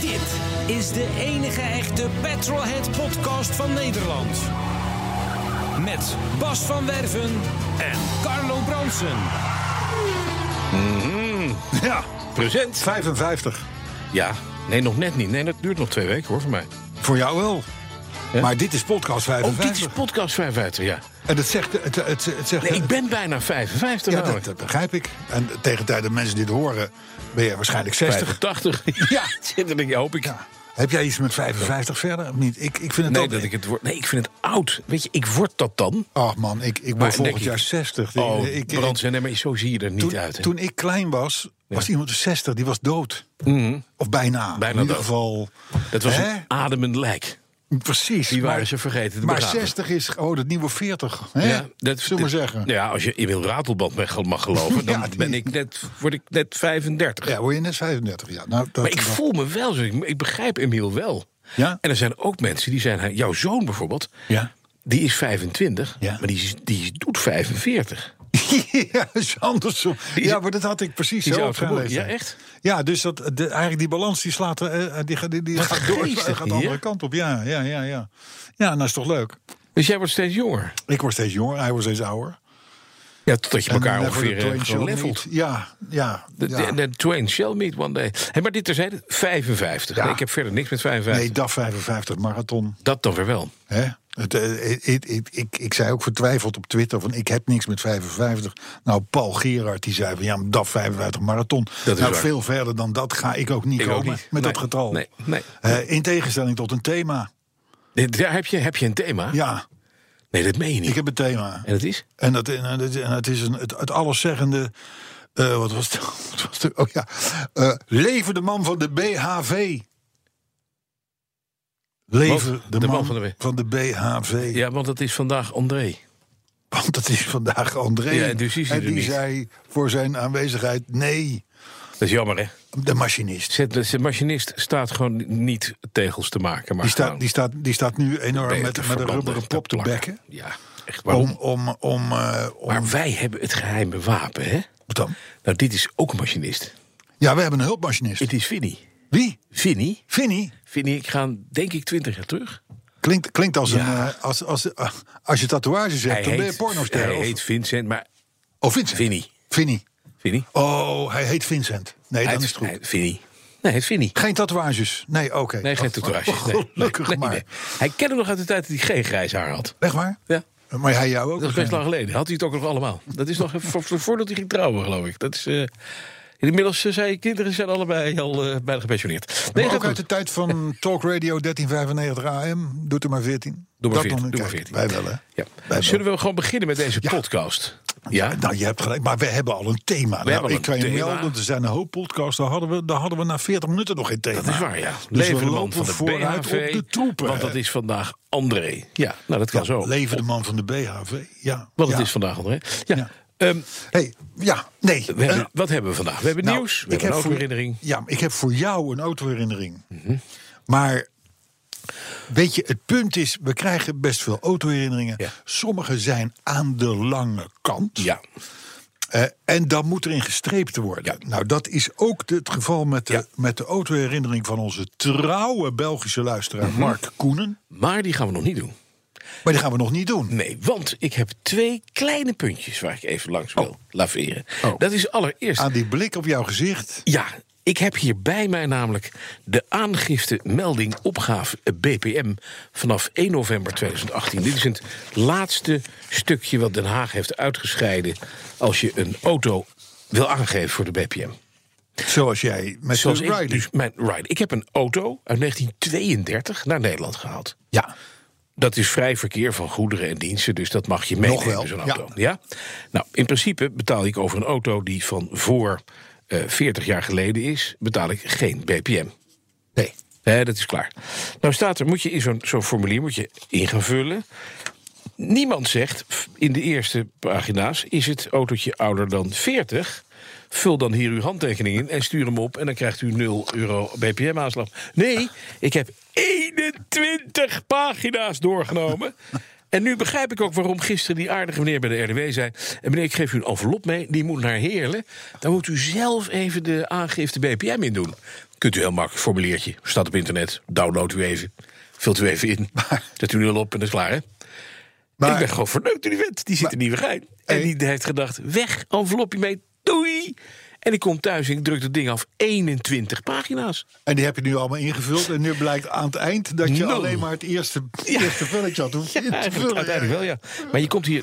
Dit is de enige echte Petrolhead podcast van Nederland. Met Bas van Werven en Carlo Bronsen. Hmm. Ja, present. 55. Ja, nee, nog net niet. Nee, dat duurt nog twee weken hoor, voor mij. Voor jou wel. Hè? Maar dit is podcast Oh, 55. dit is podcast 55, ja. En het zegt... Het, het, het zegt Nee, ik ben bijna nou. 55 ja, dat, namelijk. dat begrijp ik. En tegen de tijd dat mensen dit horen, ben je waarschijnlijk 60. 85. Ja. dat denk ik, hoop ik. Ja. Heb jij iets met 55 verder of niet? Ik, ik vind het Nee, ook... dat ik het word. Nee, ik vind het oud. Weet je, ik word dat dan. Ach man, ik, ik Maar ben volgend denk jaar ik- 60. Oh, ik, ik- Brand, nee, maar zo zie je er niet toen, uit. hè. toen ik klein was, was iemand 60, die was dood. Of bijna. Mhm. Bijna In ieder dood. geval... dat was hè? een ademend lijk. Precies. Die waren maar- ze vergeten te Maar begraven. 60 is oh, dat nieuwe 40. Hè? dat- Zullen we dat- zeggen. Ja, als je Emil Ratelband mag mag geloven, dan Ja, die- ben ik net, word ik net 35. Ja, word je net 35. Ja, nou, dat, Maar ik dat- voel me wel, zo. ik, ik begrijp Emiel wel. Ja? En er zijn ook mensen die zijn, jouw zoon bijvoorbeeld, Ja. die is 25, Ja. maar die, is- die doet 45. ja, is andersom. Die is- ja, maar dat had ik precies die is zo op oud zijn geboren. leeftijd. Ja, echt? Ja, dus dat, de, eigenlijk die balans die slaat eh, eh, die, gaat- die, die gaat door, geestig, gaat de andere ja. kant op. Ja, ja, ja, ja. Ja, nou is toch leuk. Dus jij wordt steeds jonger. Ik word steeds jonger, hij wordt steeds ouder. Ja, totdat je elkaar En never ongeveer the twain eh, shall gewoon levelt. meet. Ja, ja. De, ja. de- de twain shall meet one day. Hey, maar dit terzijde, 55. Ja. Nee, ik heb verder niks met 55. nee, DAF 55 marathon. Dat dan weer wel. Hè? Het, eh, ik- ik- ik- ik, ik zei ook vertwijfeld op Twitter van ik heb niks met 55. Nou, Paul Gerard die zei van ja, maar DAF 55 marathon. Dat is nou, waar. veel verder dan dat ga ik ook niet Ik ook komen niet. met Nee, dat getal. nee, nee. Eh, in tegenstelling tot een thema. Nee, Daar heb je, heb je een thema? Ja, Nee, dat meen je niet. ik heb een thema. En dat is? En dat, en dat- en dat is een, het, het alleszeggende. eh, wat was het? Wat was het? Oh ja. eh, leven de man van de BHV. Leven Wat? de, man, van, de... B- BHV. Ja, want dat is vandaag André. Want dat is vandaag André. Ja, dus is hij en er die niet. zei voor zijn aanwezigheid: nee, Dat is jammer, hè? de machinist. Zet, de de machinist staat gewoon niet tegels te maken. Maar Die gewoon- staat, die, staat, die staat nu enorm ben je met, te met een verbanden, rubberen te pop te plakken. bekken. Ja, echt waarom? Om, om, om, eh, om, Maar wij hebben het geheime wapen, hè? Wat dan? Nou, dit is ook een machinist. Ja, we hebben een hulpmachinist. Het is Vinnie. Wie? Vinnie? Vinnie? Vinnie, ik ga denk ik twintig jaar terug. Klinkt, klinkt als een. Ja. eh, als, als, eh, als je tatoeages hebt, dan ben je pornoster. hij of, heet Vincent, maar... oh, Vincent. Vinnie. Vinnie. Vinnie? Oh, hij heet Vincent. Nee, hij dan is heet- het goed. hij- Vinnie. Nee, hij heet Vinnie. Geen tatoeages. Nee, oké. Nee, geen Oh, tatoeage. oh, Nee, nee, Gelukkig nee, maar. nee. Hij kende nog uit de tijd dat hij geen grijs haar had. Echt waar? Ja. Maar hij jou ook? Dat is best lang geleden. Had hij het ook nog allemaal. Dat is nog vo- vo- voordat hij ging trouwen, geloof ik. Dat is, eh, inmiddels eh, zijn je kinderen zijn allebei al eh, bijna gepensioneerd. Nee, Maar gaat ook uit de goed. tijd van Talk Radio 1395 AM. Doet er maar 14. Doe maar 14, Dat nog doe een maar kijk. 14. Wij wel, hè? Ja. wel. Zullen we gewoon beginnen met deze podcast? Ja? Nou, je hebt gelijk. Maar we hebben al een thema. nou, hebben ik een kan je thema. melden, er zijn een hoop podcasts. Daar hadden, we, daar hadden we na 40 minuten nog geen thema. Dat is waar, ja. Dus Leven we de man lopen van de vooruit BHV. op de troepen. Want dat hè? is vandaag André. Ja, nou dat kan Ja, zo. Leven de man van de BHV. Ja. Want het ja. is vandaag André. Ja. Ja. ehm, Hey, ja, nee. we hebben- eh, wat hebben we vandaag? We hebben nou, nieuws, we hebben een voor- autoherinnering. Mhm. Ja, ik heb voor jou een autoherinnering. Maar weet je, het punt is, we krijgen best veel autoherinneringen. Ja. Sommige zijn aan de lange kant. Ja, Eh, en dan moet erin gestreept worden. Ja. Nou, dat is ook de- het geval met de, Ja. met de autoherinnering van onze trouwe Belgische luisteraar Mhm. Mark Koenen. maar die gaan we nog niet doen. Maar die gaan we nog niet doen. Nee, want ik heb twee kleine puntjes waar ik even langs wil laveren. Oh. Dat is allereerst. Aan die blik op jouw gezicht. Ja, ik heb hier bij mij namelijk de aangifte melding opgave eh, BPM vanaf 1 november 2018. Dit is het laatste stukje wat Den Haag heeft uitgescheiden als je een auto wil aangeven voor de BPM. Zoals jij met Zoals de ik, Riley. dus mijn ride. Ik heb een auto uit 1932 naar Nederland gehaald. Ja. Dat is vrij verkeer van goederen en diensten, dus dat mag je Nog meenemen, wel, zo'n ja. auto. Ja. Nou, in principe betaal ik over een auto die van voor eh, 40 jaar geleden is, betaal ik geen BPM. Nee. Hè, Eh, dat is klaar. Nou staat er, moet je in zo'n zo'n formulier moet je in gaan vullen. Niemand zegt, f- in de eerste pagina's, is het autootje ouder dan 40? Vul dan hier uw handtekening in en stuur hem op... en dan krijgt u 0 euro BPM-aanslag. Nee, ik heb 21 pagina's doorgenomen... En nu begrijp ik ook waarom gisteren die aardige meneer bij de RDW zei... en meneer, ik geef u een envelop mee, die moet naar Heerlen. Dan moet u zelf even de aangifte BPM in doen. Kunt u heel makkelijk, formuliertje, staat op internet. Download u even, vult u even in, zet u nul op en dat is klaar, hè? ik ben Maar, gewoon verneukt door die vent. Die zit in Nieuwegein. En die heeft gedacht, weg, envelopje mee, doei. En ik kom thuis en ik druk dat ding af. 21 pagina's. en die heb je nu allemaal ingevuld. En nu blijkt aan het eind dat je Nul. alleen maar het eerste, eerste vulletje had. hoef je in Ja, te eigenlijk, vullen. uiteindelijk wel, ja. Maar je komt hier...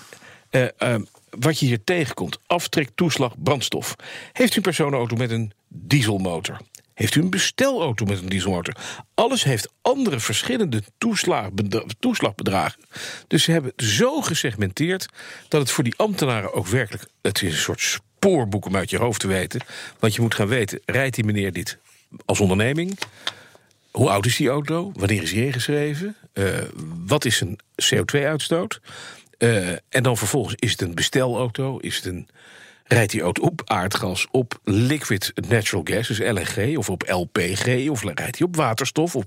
eh, eh, wat je hier tegenkomt, aftrek, toeslag, brandstof. Heeft u een personenauto met een dieselmotor? Heeft u een bestelauto met een dieselmotor? Alles heeft andere verschillende toeslagbedra- toeslagbedragen. Dus ze hebben het zo gesegmenteerd dat het voor die ambtenaren ook werkelijk... het is een soort spoorboek om uit je hoofd te weten. Want je moet gaan weten, rijdt die meneer dit als onderneming? Hoe oud is die auto? Wanneer is die ingeschreven? Eh, wat is een CO2-uitstoot? Eh, en dan vervolgens, is het een bestelauto? Is het een, rijdt die auto op aardgas, op liquid natural gas, dus LNG, of op LPG, of rijdt hij op waterstof? Of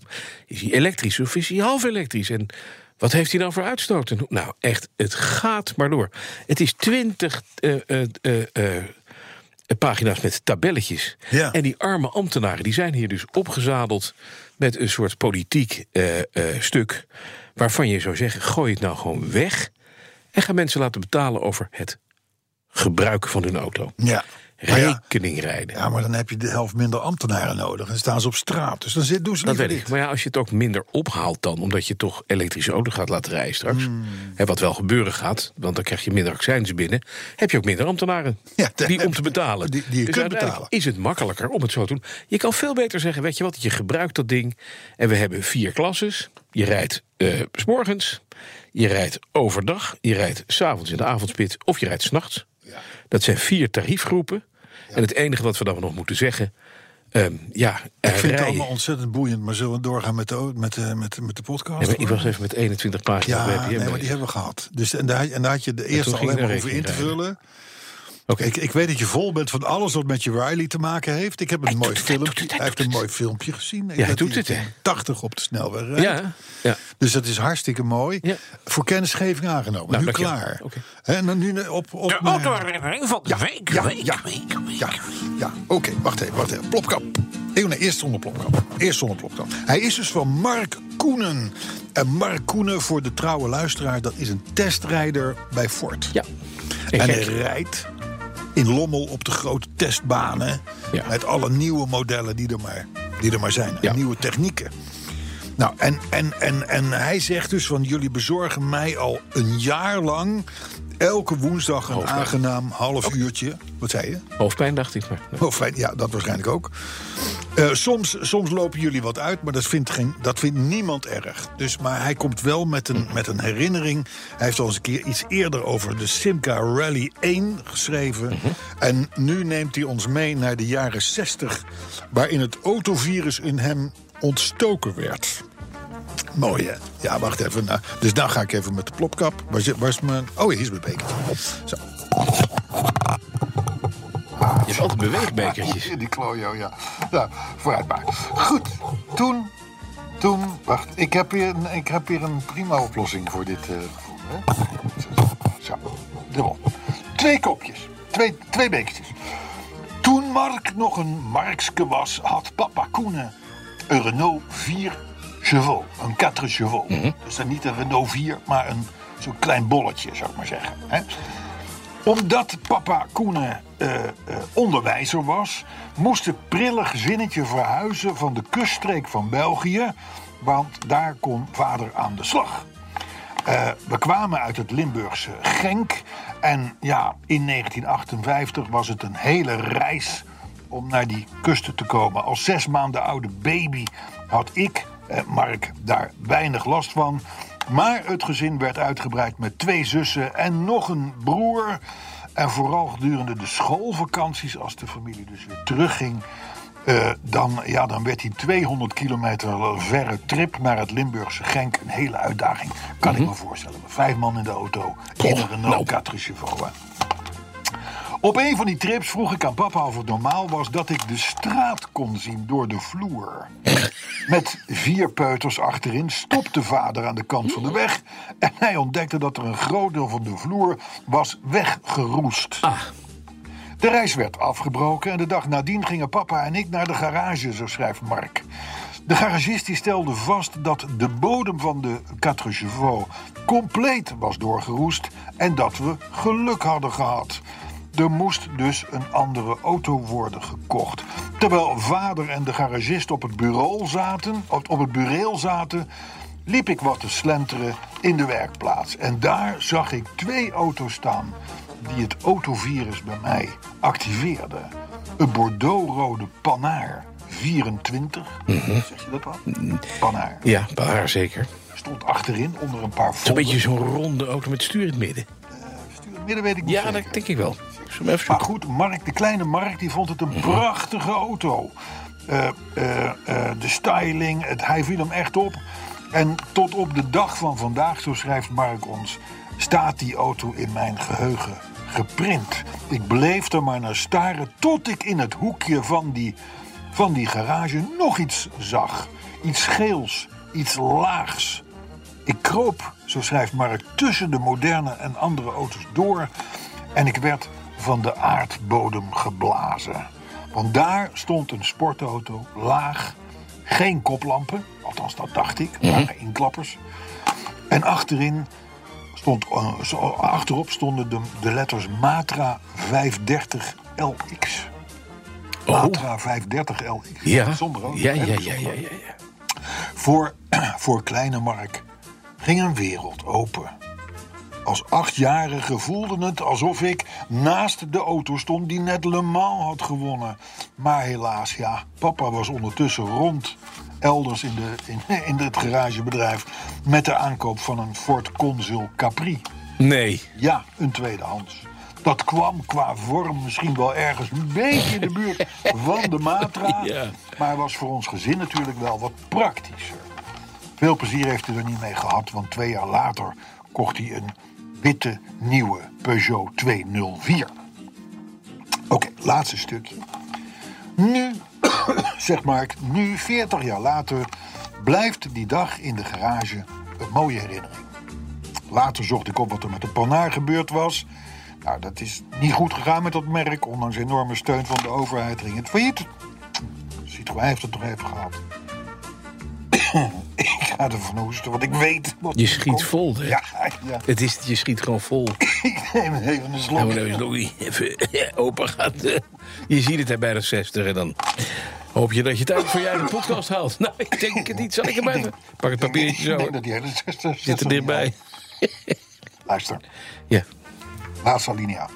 is hij elektrisch of is hij half elektrisch? En wat heeft hij dan voor uitstoot? En hoe- Nou, echt, het gaat maar door. Het is 20 eh, eh, eh, eh, pagina's met tabelletjes. Ja. En die arme ambtenaren die zijn hier dus opgezadeld met een soort politiek eh, eh, stuk. Waarvan je zou zeggen: gooi het nou gewoon weg. En ga mensen laten betalen over het gebruiken van hun auto. Ja. Maar Nou ja, Rekening rijden. ja, maar dan heb je de helft minder ambtenaren nodig. En staan ze op straat. Dus dan zit, doen ze Dat liever weet ik. dit. Maar ja, als je het ook minder ophaalt dan, omdat je toch elektrische auto gaat laten rijden straks. Hmm. Hè, wat wel gebeuren gaat, want dan krijg je minder accijns binnen. Heb je ook minder ambtenaren Ja, daar die om heb te je- betalen. die- die je dus kunt uiteindelijk betalen. is het makkelijker om het zo te doen. Je kan veel beter zeggen, weet je wat, je gebruikt dat ding. En we hebben vier klasses. Je rijdt eh, s morgens, je rijdt overdag, je rijdt s'avonds in de avondspit of je rijdt s'nachts. Dat zijn vier tariefgroepen. En het enige wat we dan nog moeten zeggen... ehm, ja, Ik vind het rijden. allemaal ontzettend boeiend. Maar zullen we doorgaan met de, o- met de, met de, met de podcast? Nee, maar ik was even met 21 pagina's ja, bij BPM nee, maar bezig. die hebben we gehad. Dus, en, daar, en daar had je de toen eerste ging alleen de maar hoeven in te rekening vullen. Oké. Ik, ik weet dat je vol bent van alles wat met je Riley te maken heeft. Ik heb een Hij mooi doet het, hij filmpje. doet het, hij Hij heeft doet een het. mooi filmpje gezien. hij Dat doet het, hè. 80 op de snelweg rijdt. Ja, ja. Dus dat is hartstikke mooi. Ja. Voor kennisgeving aangenomen. Nou, nu dankjewel. klaar. Oké. Hè, En dan nu eh, op, op naar- oh, van de week, ja, ja, ja, ja. Oké, wacht even, wacht even. Plopkap. Eh, nee, eerst zonder plopkap. Eerst zonder plopkap. Hij is dus van Mark Koenen. En Mark Koenen, voor de trouwe luisteraar, dat is een testrijder bij Ford. ja. En En hij gek. rijdt in Lommel op de grote testbanen. Ja. Met alle nieuwe modellen die er maar, die er maar zijn. en Ja. Nieuwe technieken. Nou, en, en, en, en hij zegt dus van... jullie bezorgen mij al een jaar lang... elke woensdag een Hoofdpijn. aangenaam half uurtje. Wat zei je? Hoofdpijn dacht ik maar. Ja. Hoofdpijn, eh, ja, dat waarschijnlijk ook. Eh, soms, soms lopen jullie wat uit, maar dat vindt, geen, dat vindt niemand erg. Dus, maar hij komt wel met een, met een herinnering. Hij heeft al eens een keer iets eerder over de Simca Rally 1 geschreven. En nu neemt hij ons mee naar de jaren 60... waarin het autovirus in hem ontstoken werd. Mooi, hè? Ja, wacht even. Nou, dus nou ga ik even met de plopkap. Waar, zit- waar is mijn... Oh, hier is mijn bekertje. Zo. Je hebt altijd beweegbekertjes. In die klojo, ja. Nou, vooruit maar. Goed, toen... Toen, wacht, ik heb hier een, ik heb hier een prima oplossing voor dit eh, gevoel. hè. Zo, dubbel. Twee kopjes, twee, twee bekertjes. Toen Mark nog een Markske was, had papa Koenen een Renault 4 Chevaux. Een 4 Chevaux. Dus dan niet een Renault 4, maar een zo'n klein bolletje, zou ik maar zeggen. Hè? Omdat papa Koenen eh, eh, onderwijzer was, moest het prille gezinnetje verhuizen van de kuststreek van België, want daar kon vader aan de slag. Eh, we kwamen uit het Limburgse Genk en ja, in 1958 was het een hele reis om naar die kusten te komen. Als zes maanden oude baby had ik, eh, Mark, daar weinig last van. Maar het gezin werd uitgebreid met twee zussen en nog een broer. En vooral gedurende de schoolvakanties, als de familie dus weer terugging. eh, dan, ja, dan werd die 200 kilometer verre trip naar het Limburgse Genk een hele uitdaging. Kan ik me voorstellen. Met vijf man in de auto, in een Renault 4 chauffeur. hè. Op een van die trips vroeg ik aan papa of het normaal was dat ik de straat kon zien door de vloer. Met vier peuters achterin stopte vader aan de kant van de weg. En hij ontdekte dat er een groot deel van de vloer was weggeroest. Ah. De reis werd afgebroken en de dag nadien gingen papa en ik naar de garage, zo schrijft Mark. De garagist die stelde vast dat de bodem van de Quatre Chevaux compleet was doorgeroest en dat we geluk hadden gehad. Er moest dus een andere auto worden gekocht. Terwijl vader en de garagist op het bureau zaten, op het bureel zaten, liep ik wat te slenteren in de werkplaats. En daar zag ik twee auto's staan die het autovirus bij mij activeerden. Een bordeauxrode Panhaar 24. Mhm. Zeg je dat wat? Panhaar. Ja, bij haar zeker. Het Stond achterin onder een paar is een volgen. beetje zo'n ronde auto met stuur in het midden. Stuur- Midden weet ik niet Ja, zeker. dat denk ik wel. Ik zal hem even Maar zoeken. goed, Mark, de kleine Mark die vond het een prachtige auto. Eh, eh, eh, de styling, het, hij viel hem echt op. En tot op de dag van vandaag, zo schrijft Mark ons, staat die auto in mijn geheugen geprint. Ik bleef er maar naar staren tot ik in het hoekje van die, van die garage nog iets zag. Iets geels, iets laags. Ik kroop, zo schrijft Mark, tussen de moderne en andere auto's door. En ik werd van de aardbodem geblazen. Want daar stond een sportauto, laag, geen koplampen. Althans, dat dacht ik, waren inklappers. En achterin stond, eh, zo- achterop stonden de, de letters Matra 530 LX. Matra 530 LX. Oh. Ja, Zonder auto, ja, ja, hè, ja, ja, zonder ja, auto. ja. Voor, voor kleine Mark ging een wereld open. Als achtjarige voelde het alsof ik naast de auto stond die net Le Mans had gewonnen. Maar helaas, ja, papa was ondertussen rond elders in, de, in, in het garagebedrijf... met de aankoop van een Ford Consul Capri. Nee. Ja, een tweedehands. Dat kwam qua vorm misschien wel ergens een beetje in de buurt van de Matra. Ja. Maar was voor ons gezin natuurlijk wel wat praktischer. Veel plezier heeft hij er niet mee gehad, want twee jaar later kocht hij een witte nieuwe Peugeot 204. Oké, laatste stukje. Nu, zeg Mark, nu 40 jaar later blijft die dag in de garage een mooie herinnering. Later zocht ik op wat er met de Panhard gebeurd was. Nou, dat is niet goed gegaan met dat merk. Ondanks enorme steun van de overheid ging het failliet. Citroën heeft het nog even gehad. ik ga ervan hoesten, want ik weet... Wat Je er schiet komt. vol, hè? Ja, ja. Het is, je schiet gewoon vol. ik neem even een Nou, slok. nou is nog niet even open gaat. Je ziet het, hij bij de 60 en dan hoop je dat je het uit voor jij de podcast haalt. Nou, ik denk het niet. Zal ik hem even? Pak het papiertje Ik zo. denk hoor. dat die hele zestig- Zit er zestig- dichtbij. Luister, Ja. laatste alinea.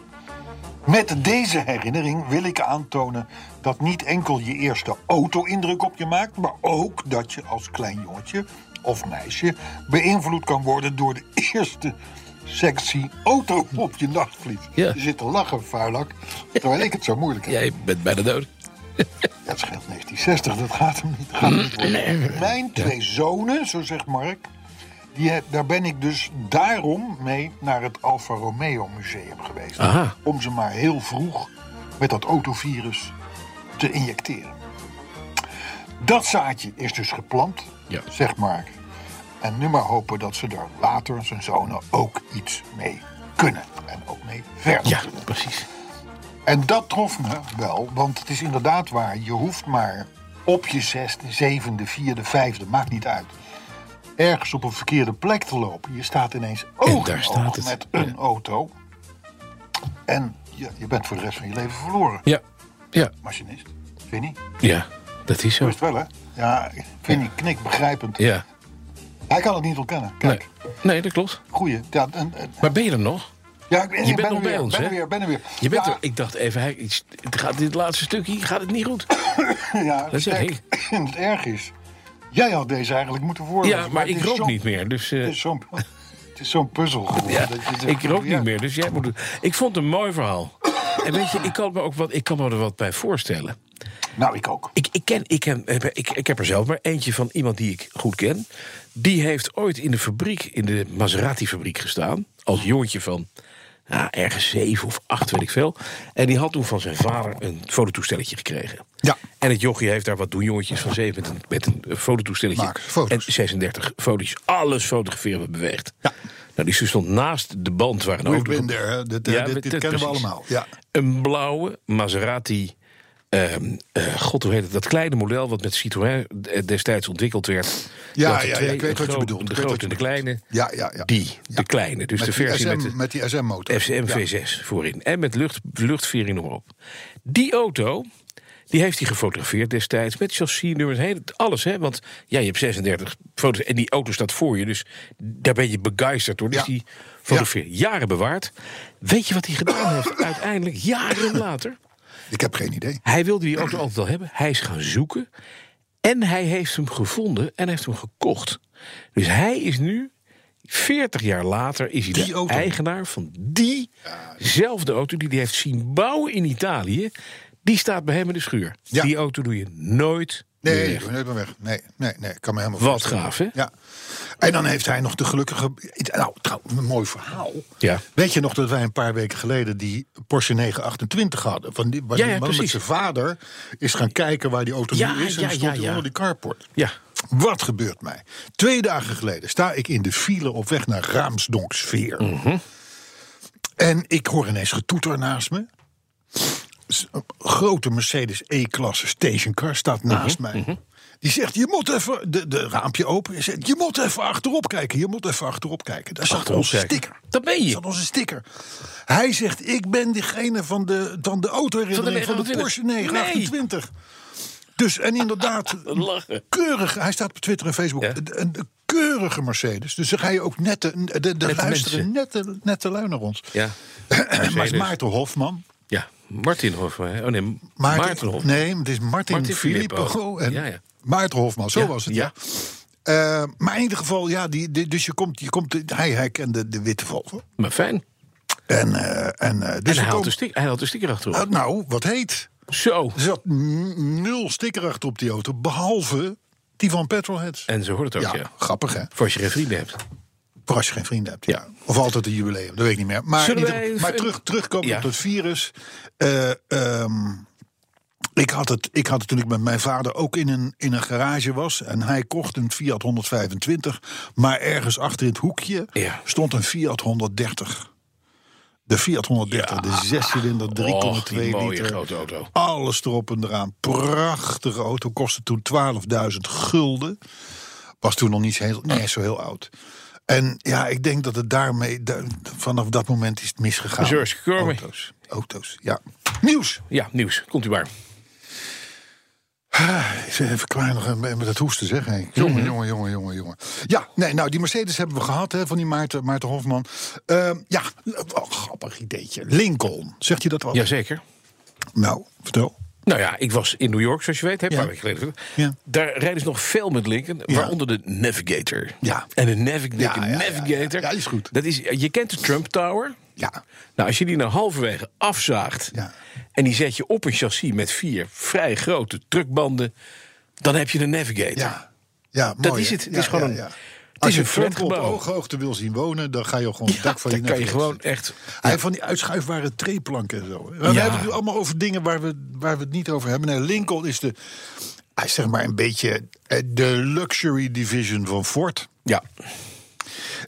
Met deze herinnering wil ik aantonen dat niet enkel je eerste auto indruk op je maakt, maar ook dat je als klein jongetje of meisje beïnvloed kan worden door de eerste sectie auto op je nachtvliet. Ja. Je zit te lachen, vuilak, terwijl ik het zo moeilijk heb. Jij bent bijna dood. Dat scheelt 1960, dat gaat hem niet, gaat hem niet worden. Mijn twee zonen, zo zegt Mark, die, heb- daar ben ik dus daarom mee naar het Alfa Romeo Museum geweest. Aha. Om ze maar heel vroeg met dat autovirus te injecteren. Dat zaadje is dus geplant, Ja. zegt Mark. En nu maar hopen dat ze daar later, zijn zonen, ook iets mee kunnen. En ook mee verder Ja, kunnen. precies. En dat trof me wel, want het is inderdaad waar. Je hoeft maar op je zesde, zevende, vierde, vijfde, maakt niet uit. Ergens op een verkeerde plek te lopen. Je staat ineens oog in daar oog staat het. met een auto. En je, je bent voor de rest van je leven verloren. Ja. Ja. Machinist, vind je niet? Ja. Dat is zo. Best wel, hè? Ja, vind ik knik begrijpend. Ja. Hij kan het niet ontkennen. Nee. Kijk, Nee, dat klopt. goeie. Ja, en, en- Maar ben je er nog? ja, ik- ik Je ben bent er nog bij weer, ons, ben hè? er weer, ben er weer. Je bent Ja, er. Ik dacht even, hij, iets, het gaat dit laatste stukje gaat het niet goed. Ja, Dat zeg kijk, ik. En het erg is, jij had deze eigenlijk moeten voorlezen. Ja, maar het ik is rook zo'n- niet meer. Dus eh, Het is zo'n het is zo'n puzzel geworden. Ja, dat je zegt, ik rook ja. niet meer, dus jij moet het. Ik vond het een mooi verhaal. En weet je, ik kan me, ook wat, ik kan me er wat bij voorstellen. Nou, ik ook. Ik, ik, ken, ik, ken, eh, ik, ik heb er zelf maar eentje van iemand die ik goed ken. Die heeft ooit in de fabriek, in de Maserati-fabriek gestaan. Als jongetje van nou, ergens zeven of acht, weet ik veel. En die had toen van zijn vader een fototoestelletje gekregen. Ja. En het jochie heeft daar wat doen jongetjes van zeven met een, met een eh, fototoestelletje. Maak foto's. En 36 foto's. Alles fotograferen wat beweegt. Ja. Nou, die stond naast Nou, de band waar een We've auto- been there, hè. Dit, eh, dit- met- dit kennen we precies. allemaal, ja. Een blauwe Maserati. ehm, eh, God, hoe heet het? Dat kleine model wat met Citroën eh, destijds ontwikkeld werd. Ja, Je had er ja, ja, twee, ik weet een wat je groot- bedoelt. De Ik weet grote en de wat kleine. Ja, ja, ja. Die, de kleine. Dus de Met die versie SM, met de met die SM-motor. FCM V6 voorin. En met lucht, luchtvering nog op. Die auto, die heeft hij gefotografeerd destijds. Met chassisnummers, hele- alles. Hè? Want ja, je hebt 36 foto's en die auto staat voor je. Dus daar ben je begeisterd door. Dus Ja. die fotografeer jaren bewaard. Weet je wat hij gedaan heeft uiteindelijk, jaren later? Ik heb geen idee. Hij wilde die auto altijd al hebben. Hij is gaan zoeken. En hij heeft hem gevonden en heeft hem gekocht. Dus hij is nu, 40 jaar later, is hij de auto. eigenaar van diezelfde auto die hij heeft zien bouwen in Italië. Die staat bij hem in de schuur. Ja. Die auto doe je nooit meer Nee, weg. doe me maar weg. Nee, nee, nee. ik kan me helemaal Wat voorstellen. gaaf, hè? Ja. En dan heeft hij nog de gelukkige... Nou, trouwens, een mooi verhaal. Ja. Weet je nog dat wij een paar weken geleden die Porsche 928 hadden? Van die, waar Ja, die ja, man precies. met zijn vader is gaan kijken waar die auto Ja, nu is. En ja, stond ja, hij ja. onder die carport. Ja. Wat gebeurt mij? Twee dagen geleden sta ik in de file op weg naar Raamsdonksveer. En ik hoor ineens getoeter naast me. S- een Grote Mercedes E-klasse stationcar staat Mhm, naast mij. Die zegt, je moet even... De, de raampje open. Je zegt, je moet even achterop kijken. Je moet even achterop kijken. Daar zat Achterop onze kijken. sticker. Dat ben je. Daar zat onze sticker. Hij zegt, ik ben diegene van de, van de autoherinnering van de, Porsche 928. Dus, en inderdaad, Lachen. keurig, hij staat op Twitter en Facebook, Ja. een, een keurige Mercedes. Dus dan ga je ook net de, de, de mensen. luisteren, nette, nette lui naar ons. Ja. maar Mercedes. is Maarten Hofman. Ja, Martin Hofman. hè? Oh nee, Maarten, Maarten, Hofman. Nee, het is Martin, Martin Filippo. Filippo. En Ja, ja. Maarten Hofman, zo Ja, was het. ja. Ja. Eh, maar in ieder geval, ja, die, die- dus je komt, je komt hij, hij kende de witte Volvo. Maar fijn. Dus En, eh, en, eh, en dus je hij had, komt- de sticker, hij had de sticker achterop. Eh, nou, wat heet? Zo. Er zat n- nul sticker achter op die auto, behalve die van Petrolheads. En zo hoort het ook, ja, ja. grappig hè? Voor als je geen vrienden hebt. Voor als je geen vrienden hebt. Ja. Ja. Of altijd een jubileum, dat weet ik niet meer. Maar, in Zullen ieder- wij even- maar terug, terugkomen Ja. op het virus. Eh, ehm, ik, had het, ik had het toen ik met mijn vader ook in een, in een garage was. En hij kocht een Fiat 125. Maar ergens achter in het hoekje Ja. stond een Fiat 130. De Fiat 130, de zescilinder 3,2 Och, die mooie liter. grote auto. Alles erop en eraan. Prachtige auto. Kostte toen 12.000 gulden. Was toen nog niet zo heel, niet eens zo heel oud. En ja, ik denk dat het daarmee... da- vanaf dat moment is het misgegaan. George Cormier. Auto's. Auto's, ja. Nieuws. Ja, nieuws. Komt u maar. Ik zeg Even klaar nog met met dat hoesten zeggen. Mhm. hè. Jongen, jongen, jongen, jongen, jongen. Ja, nee, nou, die Mercedes hebben we gehad hè, van die Maarten, Maarten Hofman. Ehm, ja, wel een grappig ideetje. Lincoln, zegt je dat wat? Jazeker. Nou, vertel. Nou ja, ik was in New York, zoals je weet, hè, een Ja. paar weken geleden. Ja. Daar rijden ze nog veel met Lincoln, waaronder de Navigator. Ja. En de Navi- Ja, ja, ja, Navigator, ja. Ja, die is goed. Dat is, je kent de Trump Tower. Ja, Nou, als je die nou halverwege afzaagt Ja. en die zet je op een chassis met vier vrij grote truckbanden, dan heb je de Navigator. ja. ja mooi, Dat is hè? het. Het Ja, is gewoon ja, een- ja. het Als is je een flat Trump op gebouw. ooghoogte wil zien wonen, dan ga je gewoon Ja, het dak van dan je kan je Netflix. gewoon echt. Hij heeft van die uitschuifbare treeplanken en zo. We hebben het nu allemaal over dingen waar we, waar we het niet over hebben. Nee, Lincoln is de, hij is zeg maar een beetje eh, de luxury division van Ford. Ja,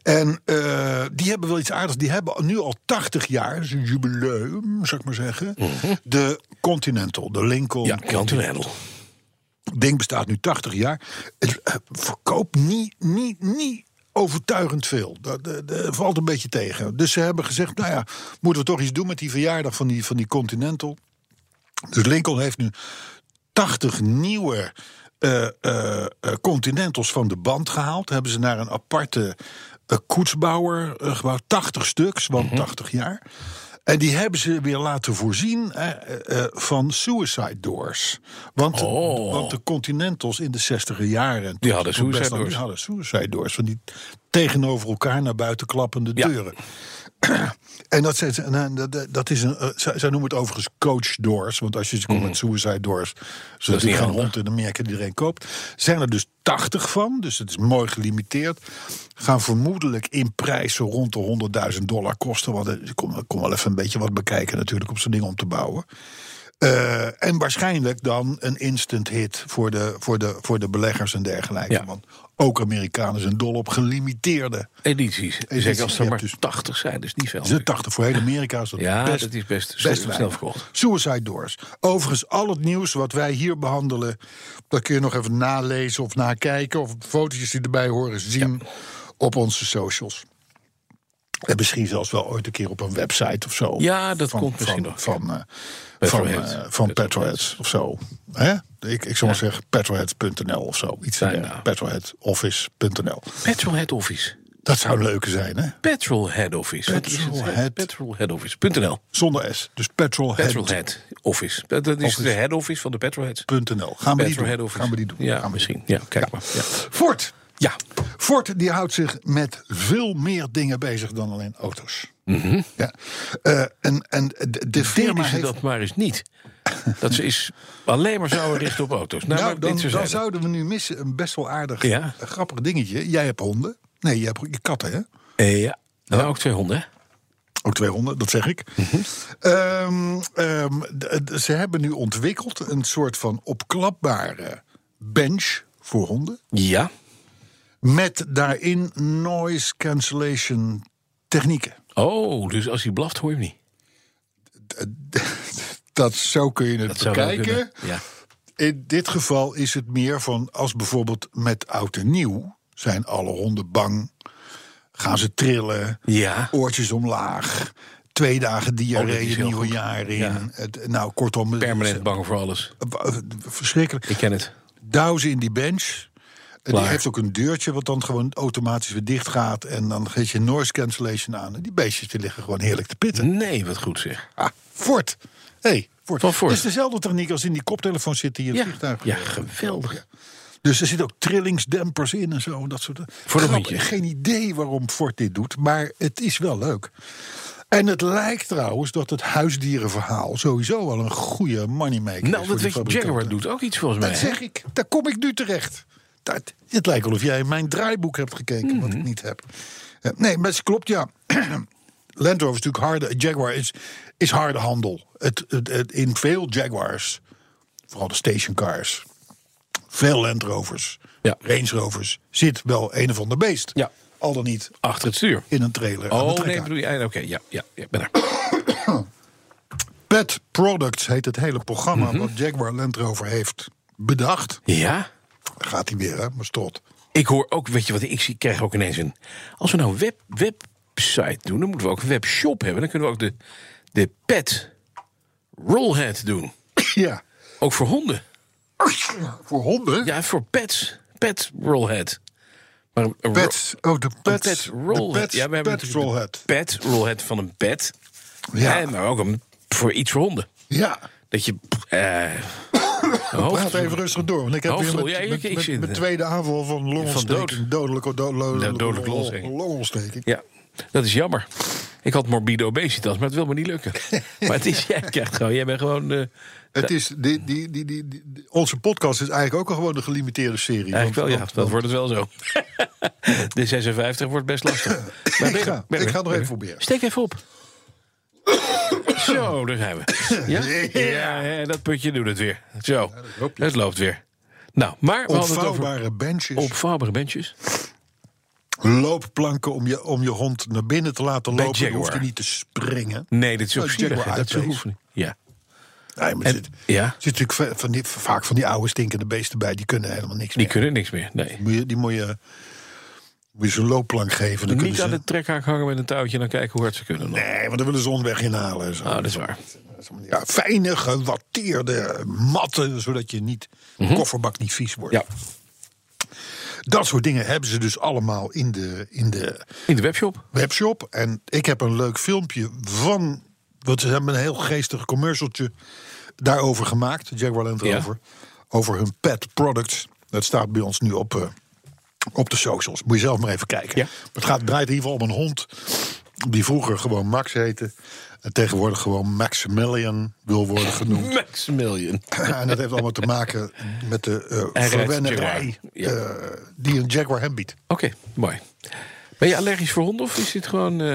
En eh, die hebben wel iets aardigs. Die hebben nu al 80 jaar, dat is een jubileum, zou ik maar zeggen. De Continental, de Lincoln. ja Continental. ding bestaat nu 80 jaar. Het eh, verkoopt niet, niet, niet overtuigend veel. Dat, dat- dat valt een beetje tegen. Dus ze hebben gezegd, nou ja, moeten we toch iets doen met die verjaardag van die, van die Continental. Dus Lincoln heeft nu 80 nieuwe eh, eh, eh, Continentals van de band gehaald. Hebben ze naar een Mhm. aparte eh, koetsbouwer eh, gebouwd. 80 stuks, want 80 jaar. En die hebben ze weer laten voorzien eh, eh, eh, van suicide doors. Want, Oh. want de Continentals in de 60 jaren. en Die hadden toen best suicide lang- doors. Die hadden suicide doors. Van die tegenover elkaar naar buiten klappende Ja. deuren. En dat, zijn, en, en dat, dat is een. eh, zij, zij noemen het overigens coach doors. Want als je ze komt met suicide doors. Ze Mhm. niet natuurlijk geen handig. hond in Amerika die iedereen koopt. Zijn er dus 80 van. Dus het is mooi gelimiteerd. Gaan vermoedelijk in prijs zo rond de 100.000 dollar kosten. Want er komt kom wel even een beetje wat bekijken natuurlijk. Om zo'n ding om te bouwen. Eh, en waarschijnlijk dan een instant hit voor de, voor de, voor de beleggers en dergelijke. Ja. Want ook Amerikanen zijn dol op gelimiteerde. Edities. Zeker als er ja, maar dus- 80 zijn, dus niet veel. Ze 80 voor heel Amerika is dat Ja, best, dat is best, weinig. snel verkocht. Suicide Doors. Overigens, al het nieuws wat wij hier behandelen... dat kun je nog even nalezen of nakijken... of fotootjes die erbij horen zien op onze socials. En misschien zelfs wel ooit een keer op een website of zo. Ja, dat van, komt misschien van, nog. Van, eh, van, Petrolhead. eh, van Petrolheads of zo. Hè? Ik, ik zou maar zeggen petrolheads.nl of zo. Iets Ja, van ja. Petrolheadoffice.nl. Petrol Head Office. Dat zou een leuke zijn, hè? Petrol Head Office. Wat is het? Petrolhead. Petrol Head Office.nl. Zonder S. Dus petrolhead. Petrol Head Office. Dat dat is Office. de head office van de Petrol Heads. .nl. Gaan we, die Petrol Head doen. Office. Gaan we die doen. Ja, Gaan we die misschien. Ja, kijk maar. Ja. doen. Ford. Ja. Ford die houdt zich met veel meer dingen bezig dan alleen auto's. ja. Eh, en, en de, de firma Deden ze heeft... Mhm. dat nou, maar eens niet. Dat ze is alleen maar zouden richten op auto's. Nou, nou, maar dit dan, dan terzijde. zouden we nu missen een best wel aardig, Ja. eh, grappig dingetje. Jij hebt honden. Nee, je hebt je katten, hè? Eh, ja. Dan ook twee honden, hè? Ook twee honden, dat zeg ik. Mhm. Ehm, ehm, d- d- ze hebben nu ontwikkeld een soort van opklapbare bench voor honden. Ja. Met daarin noise cancellation technieken. Oh, dus als hij blaft hoor je hem niet. Dat zo kun je het Dat zou wel bekijken. kunnen. Ja. In dit geval is het meer van als bijvoorbeeld met oud en nieuw zijn alle honden bang. Gaan ze trillen, Ja. oortjes omlaag, twee dagen Oh, dat diarree, is het heel nieuwe goed. jaar in. Ja. Het- nou, kortom, het- eh, Permanent bang voor alles. verschrikkelijk. Ik ken het. duizen in die bench. En Die Klaar. heeft ook een deurtje wat dan gewoon automatisch weer dicht gaat. En dan geef je noise cancellation aan. En die beestjes die liggen gewoon heerlijk te pitten. Nee, wat goed zeg. Ah, Ford. Hey, Ford. Van Ford. Het is dezelfde techniek als in die koptelefoon zit die in het Ja, vliegtuig. ja geweldig. Dus er zitten ook trillingsdempers in en zo. En dat soort Voor een Grappig, hondje. Geen idee waarom Ford dit doet, maar het is wel leuk. En het lijkt trouwens dat het huisdierenverhaal sowieso wel een goede moneymaker is. Nou, voor dat die weet je, Jaguar fabrikanten. doet ook iets volgens mij. Dat hè? zeg ik. Daar kom ik nu terecht. Dat, het lijkt wel of jij in mijn draaiboek hebt gekeken, wat Mhm. ik niet heb. Eh, nee, maar het klopt, ja. Land Rover is natuurlijk harde... Jaguar is, is harde handel. Het, het, het- in veel Jaguars, vooral de stationcars... veel Land Rovers, Ja. Range Rovers... zit wel een of ander beest. Ja. Al dan niet Achter het stuur. in een trailer. aan de Oh, trek nee, aan. bedoel je... eh, Oké, ja, ja, ja, ben er. Pet Products heet het hele programma... Mhm. wat Jaguar Land Rover heeft bedacht. Ja? Daar gaat hij weer, hè, maar stot. Ik hoor ook, weet je wat, ik zie, krijg ook ineens een... Als we nou web, website doen, dan moeten we ook een webshop hebben. Dan kunnen we ook de, de pet rollhead doen. Ja. Ook voor honden. Voor honden? Ja, voor pets. Pet rollhead. Maar een, een Pets, oh, de ro- een pets. pet rollhead. De pets, ja, we hebben pet natuurlijk de rollhead. Pet rollhead van een pet. Ja. Hè, maar ook een, voor iets voor honden. Ja, Dat je... eh praat hoofd, even rustig door. Want ik heb Hoofd- weer met, ja, ik- met, ik met- zit- met tweede aanval van longontsteking. dood. Dodelijke, do, lo- Ja, dodelijke lo- longontsteking. longontsteking. Ja, dat is jammer. Ik had morbide obesitas, maar het wil me niet lukken. Maar het is, jij krijgt gewoon, jij bent gewoon... eh, Het is, die, die, die, die, die- onze podcast is eigenlijk ook al gewoon een gelimiteerde serie. eigenlijk wel, Want- ja, dat wordt het wel zo. De 56 wordt best lastig. Maar Ik ga- ben ik er- ga nog ben er- even proberen. Steek even op. Zo, daar zijn we. Ja? Ja, ja, dat putje doet het weer. Zo, het loopt weer. Nou, maar we hadden het over Opvouwbare benches, opvouwbare benches. loopplanken om je, om je hond naar binnen te laten lopen. Dan Jaguar. hoeft hij niet te springen. Nee, dit is ook Oh, zielig. hè. Jaguar Dat is IP's. hoeven niet. Ja. Nee, maar En- er zit, ja. er zit natuurlijk va- van die, vaak van die oude stinkende beesten bij. Die kunnen helemaal niks Die meer. kunnen niks meer, nee. Moet je, die moet je, moet je zo'n loopplank geven. Dan kunnen Niet ze, aan de trekhaak hangen met een touwtje en dan kijken hoe hard ze kunnen. nog. Nee, want dan willen ze onderweg inhalen. en Zo. Nou, dat is waar. Ja, fijne, gewatteerde matten, zodat je niet kofferbak niet vies wordt. Mhm. Ja, Dat soort dingen hebben ze dus allemaal in de, in de in de webshop. webshop. En ik heb een leuk filmpje van Want ze hebben een heel geestig commercialtje daarover gemaakt. Jaguar Land Ja. Rover. Over hun pet products. Dat staat bij ons nu op, eh, op de socials. Moet je zelf maar even kijken. Ja. Het gaat, draait in ieder geval om een hond. Die vroeger gewoon Max heette. En tegenwoordig gewoon Maximilian wil worden genoemd. Maximilian. en dat heeft allemaal te maken met de eh Hij rijdt verwennerij Jaguar, ja. eh, die een Jaguar hem biedt. Oké, mooi. Ben je allergisch voor honden of is dit gewoon... eh,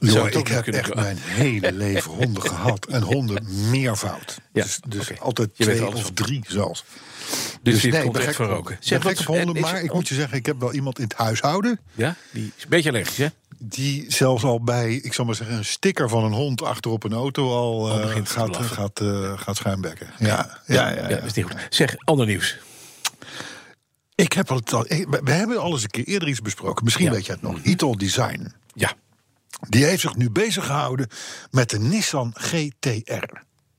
Jongen, het ook ik niet heb kunnen echt doen. mijn hele leven honden gehad. En honden meervoud. Ja, dus dus oké. altijd Je weet twee alles of van. drie zelfs. dus dit nee, komt ben echt gek van op- roken. ben gek op en honden, is- maar ik moet je zeggen... ik heb wel iemand in het huishouden... Ja, die is een beetje allergisch, hè? die zelfs al bij, ik zal maar zeggen... een sticker van een hond achter op een auto al eh, begint te gaat, blaffen. gaat, eh, gaat schuimbekken. Ja, ja, ja. Ja, ja. dat is niet goed. Zeg, ander nieuws. Ik heb het al, ik- we we hebben alles een keer eerder iets besproken. Misschien Ja. Mhm. weet je het nog. Itol Design. Ja. Die heeft zich nu bezig gehouden met de Nissan GTR.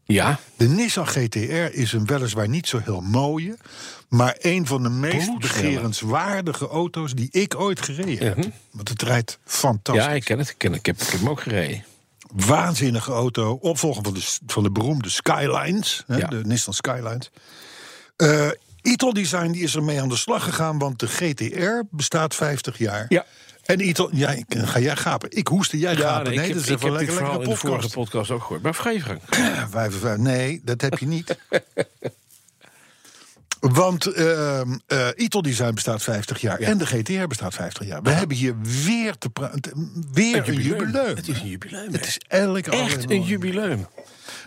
Ja, De Nissan GTR is een weliswaar niet zo heel mooie, maar een van de meest Bloedsnelle. begerenswaardige auto's die ik ooit gereden heb. Want het rijdt fantastisch. Mhm. ja ik ken het. Ik, ken, ik, heb, ik heb hem ook gereden. Waanzinnige auto. Opvolger van de, van de beroemde Skylines, hè, Ja. de Nissan Skylines. Eh Ital Design die is ermee aan de slag gegaan, want de GTR bestaat 50 jaar. Ja. En Ital, ja, ik- ga jij gapen? Ik hoesten, jij gapen. Ah, nee, nee, ik dat heb, is ik heb even dit lekker, verhaal lekker in de vorige podcast. podcast ook gehoord. Maar ga je gang. Vijf en vijf. Nee, dat heb je niet. Want ehm eh Ital Design bestaat 50 jaar en de GTR bestaat 50 jaar. We hebben hier weer te praten. Weer een jubileum. Het is een jubileum. Het Het is elk jaar echt een jubileum.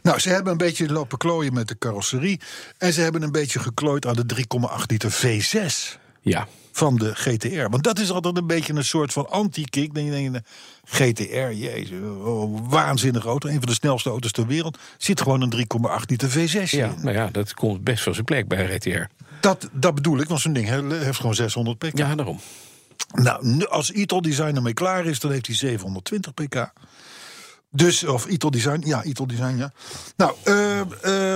Nou, ze hebben een beetje lopen klooien met de carrosserie. En ze hebben een beetje geklooid aan de 3,8 liter V6 Ja. van de GTR. Want dat is altijd een beetje een soort van anti-kick. Dan denk je, GTR, jezus, oh, waanzinnige auto. Een van de snelste auto's ter wereld. Zit gewoon een 3,8 liter V6 ja. in. Nou ja, dat komt best van zijn plek bij RTR. Dat, dat bedoel ik, want zo'n ding he- heeft gewoon 600 pk. Ja, daarom. Nou, nu- als Ital Design ermee klaar is, dan heeft hij 720 pk. Dus, of Ital Design, ja, Ital Design, ja. Nou, eh,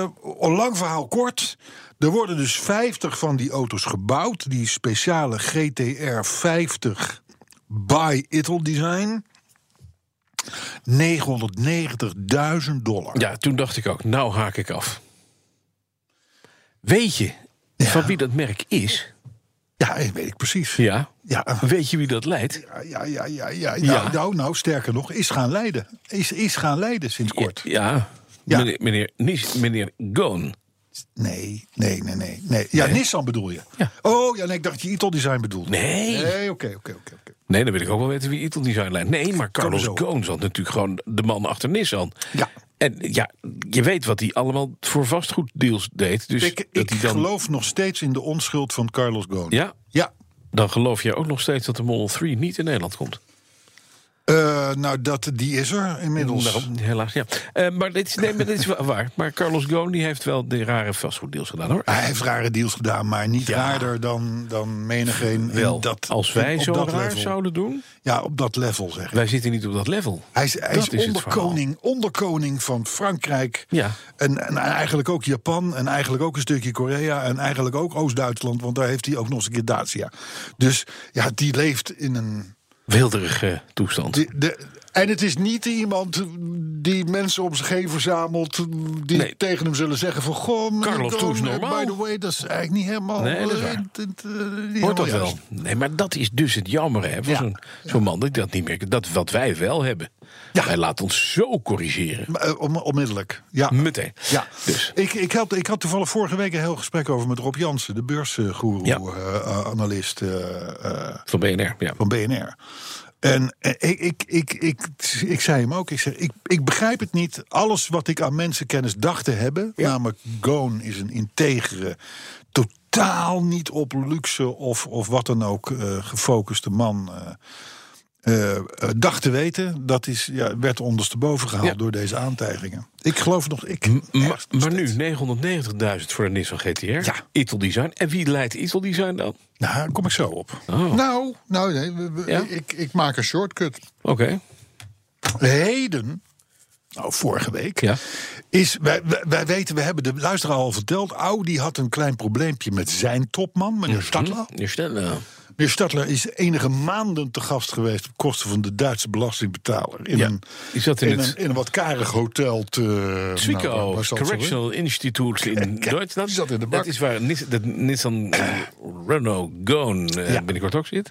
eh, lang verhaal kort. Er worden dus 50 van die auto's gebouwd. Die speciale GTR 50 by Ital Design. 990.000 dollar. Ja, toen dacht ik ook, nou haak ik af. Weet je van wie dat merk is? Ja, weet ik precies. Ja. Ja, Weet je wie dat leidt? Ja, ja, ja, ja. ja. Ja. Nou, nou, nou, sterker nog, is gaan leiden. Is, is gaan leiden sinds kort. Ja. Ja. Meneer, meneer, Nis- meneer Goon. Nee, nee, nee, nee. nee. Ja, Nissan bedoel je? Ja. Oh, ja, nee, ik dacht dat je Ital Design bedoelde. Nee. Nee, oké, oké, oké. oké. Nee, dan wil ik ook wel weten wie Ital Design leidt. Nee, maar Carlos zo. Ghosn zat natuurlijk gewoon de man achter Nissan. Ja. En ja, je weet wat hij allemaal voor vastgoeddeals deed. Dus Ik, dat ik hij dan, geloof nog steeds in de onschuld van Carlos Ghosn. Ja, Ja. dan geloof je ook nog steeds dat de Model 3 niet in Nederland komt. Eh, nou, dat, die is er inmiddels. Nou, helaas, ja. Eh, maar, dit is, nee, maar dit is wa- waar. Maar Carlos Ghosn die heeft wel de rare vastgoeddeals gedaan, hoor. Hij heeft rare deals gedaan, maar niet raarder dan, dan menigeen. in Wel, dat, als wij op zo dat raar level. zouden doen... Ja, op dat level zeg ik. Wij zitten niet op dat level. Hij is, hij Dat is, is het onderkoning, onderkoning van Frankrijk. Ja. En, en eigenlijk ook Japan. En eigenlijk ook een stukje Korea. En eigenlijk ook Oost-Duitsland. Want daar heeft hij ook nog eens een keer Dacia. Dus ja, die leeft in een. Wilderige toestand. die- de, en het is niet iemand die mensen om zich heen verzamelt. die Nee. tegen hem zullen zeggen: van goh, meneer Carlos, doe Ghosn, eens normaal. By the way, dat is eigenlijk niet helemaal. Nee, dat is eh, waar. het- het, eh, niet Hoort dat helemaal wel? juist. Nee, maar dat is dus het jammer hè, van Ja. zo'n zo'n man dat ik dat niet meer. Dat wat wij wel hebben. Ja. Hij laat ons zo corrigeren. Maar, eh, on- onmiddellijk. Ja. Meteen. Ja, Dus. ik, ik, had, ik had toevallig vorige week een heel gesprek over met Rob Jansen, de eh, Ja. beursguru-analist Van BNR. Ja. eh, van BNR. En eh, ik, ik, ik, ik, ik zei hem ook, ik, zeg, ik, ik begrijp het niet. Alles wat ik aan mensenkennis dacht te hebben, namelijk Goon is een integere, totaal niet op luxe of, of wat dan ook eh, gefocuste man. eh, eh, eh, dacht te weten, dat is, ja, werd ondersteboven gehaald Ja. door deze aantijgingen. Ik geloof nog, ik, Maar, echt nog maar nu steeds. 990.000 voor de Nissan GTR. Ja. Ital Design. En wie leidt Ital Design dan? Nou, daar kom ik zo op. Oh. Nou, nou nee, we- we- Ja? ik, ik maak een shortcut. Oké. Heden, nou vorige week, Ja. is, wij, wij, wij weten, we hebben de Mhm. luisteraar al verteld... Audi had een klein probleempje met zijn topman, meneer Stadler. Nu snel. Hm? eh, Meneer Stadler is enige maanden te gast geweest op kosten van de Duitse belastingbetaler. In, Ja, een, die zat in in, het- een, in een wat karig hotel te. Zwickau nou, waar- waar zal het zo zijn? Correctional Institute in Duitsland. die zat in de bak. Dat is waar Nis- dat Nissan eh, Renault Goon eh, Ja. binnenkort ook zit.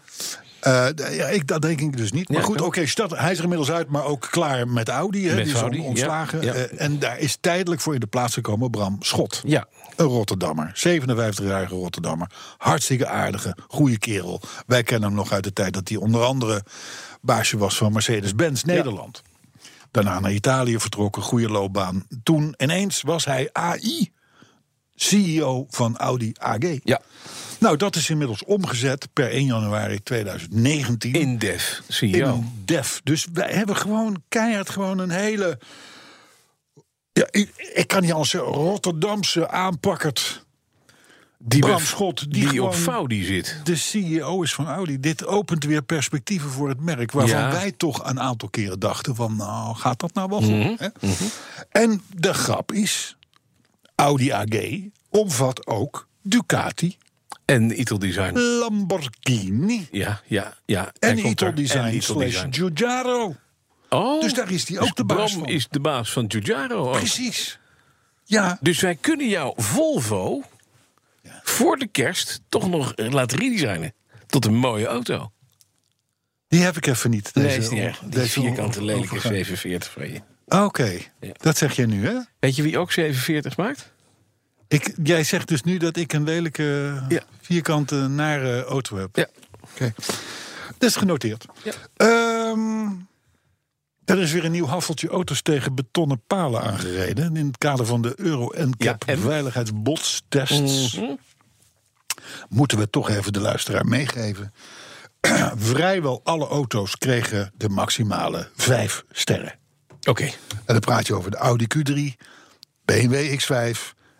Eh, d- ja, ik, dat denk ik dus niet. Maar Ja, goed, ja. oké, Stad- hij is er inmiddels uit, maar ook klaar met Audi. Hè, Met die is on- Audi, ja, ontslagen. ja. Eh, en daar is tijdelijk voor in de plaats gekomen Bram Schot. Ja. Een Rotterdammer, 57-jarige Rotterdammer. Hartstikke aardige, goede kerel. Wij kennen hem nog uit de tijd dat hij onder andere baasje was van Mercedes-Benz Nederland. Daarna naar Italië vertrokken, goede loopbaan. Toen ineens was hij AI, CEO E van Audi AG. Ja. Nou, dat is inmiddels omgezet per 1 januari 2019 In Def, in CEO. een def. Dus wij hebben gewoon keihard gewoon een hele... Ja, ik, ik kan niet anders zeggen, Rotterdamse aanpakkerd. Die Bram bij- Schot, die die, gewoon- op Faudi zit. De CEO is van Audi. Dit opent weer perspectieven voor het merk. Waarvan Ja. wij toch een aantal keren dachten van... nou, gaat dat nou wel goed? Mhm. hè? En de grap is... Audi AG omvat ook Ducati, En Ital Design. Lamborghini... Ja, ja, ja. En hij komt Ital er. En Design Ital slash Design. Giugiaro. Oh, Dus daar is die dus ook de baas Bram van. is de baas van Giugiaro ook. Precies. Ja, Dus wij kunnen jouw Volvo voor de kerst toch nog eh, laten redesignen. Tot een mooie auto. die heb ik even niet. Deze, Deze, nee, is niet erg. Die deze vierkante lelijke overgang. 47 van je. Oké, Ja. dat zeg jij nu, hè? Weet je wie ook 47 maakt? Ik, jij zegt dus nu dat ik een lelijke Ja. vierkante nare auto heb. Ja. Oké. Dat is genoteerd. Ja. Ehm, er is weer een nieuw haffeltje auto's tegen betonnen palen aangereden. In het kader van de Euro NCAP Ja, en? Mhm. veiligheidsbotstests. Moeten we toch even de luisteraar meegeven. Vrijwel alle auto's kregen de maximale vijf sterren. Oké. En dan praat je over de Audi Q3, BMW X5,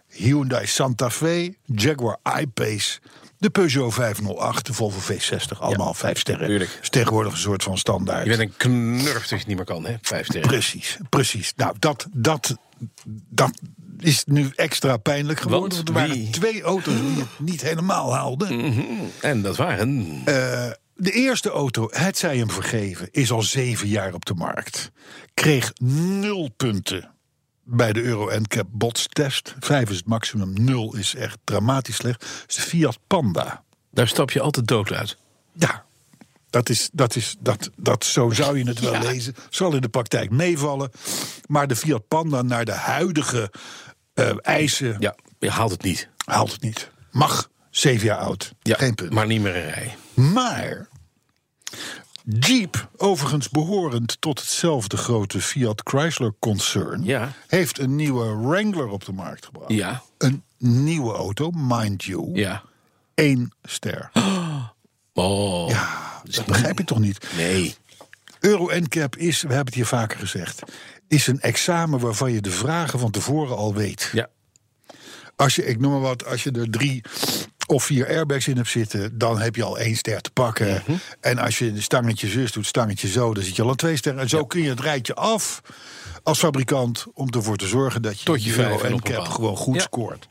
Hyundai Santa Fe, Jaguar I-Pace, de Peugeot 508, de Volvo V60. Allemaal vijf sterren. tuurlijk. Is tegenwoordig een soort van standaard. Je bent een knurf dat je het niet meer kan, hè? Vijf sterren. Precies, precies. Nou, dat, dat, dat is nu extra pijnlijk geworden. Want Want, er waren wie? twee auto's die het niet helemaal haalden. En dat waren... Eh, de eerste auto, het zij hem vergeven, is al zeven jaar op de markt. Kreeg nul punten bij de Euro NCAP bots test. Vijf is het maximum, nul is echt dramatisch slecht. Dat is de Fiat Panda. Daar stap je altijd dood uit. Ja, dat is, dat is, dat, dat, zo zou je het wel lezen. Zal in de praktijk meevallen. Maar de Fiat Panda naar de huidige eh, eisen Ja, je haalt het niet. haalt het niet. Mag, zeven jaar oud, Ja, geen punt. Maar niet meer een rij. Maar Jeep, overigens behorend tot hetzelfde grote Fiat Chrysler concern, Ja. heeft een nieuwe Wrangler op de markt gebracht. Ja, Een nieuwe auto, mind you. ja. Eén ster. Oh, Ja, dat begrijp je toch niet? nee. Euro NCAP is, we hebben het hier vaker gezegd, is een examen waarvan je de vragen van tevoren al weet. Ja, Als je, ik noem maar wat, als je er drie of vier airbags in hebt zitten, dan heb je al één ster te pakken. Mhm. En als je een stangetje zus doet, stangetje zo, dan zit je al aan twee sterren. En zo kun je het rijtje af als fabrikant om ervoor te zorgen dat je Tot je die vijf Euro en op een NCAP paal. gewoon goed Ja. scoort.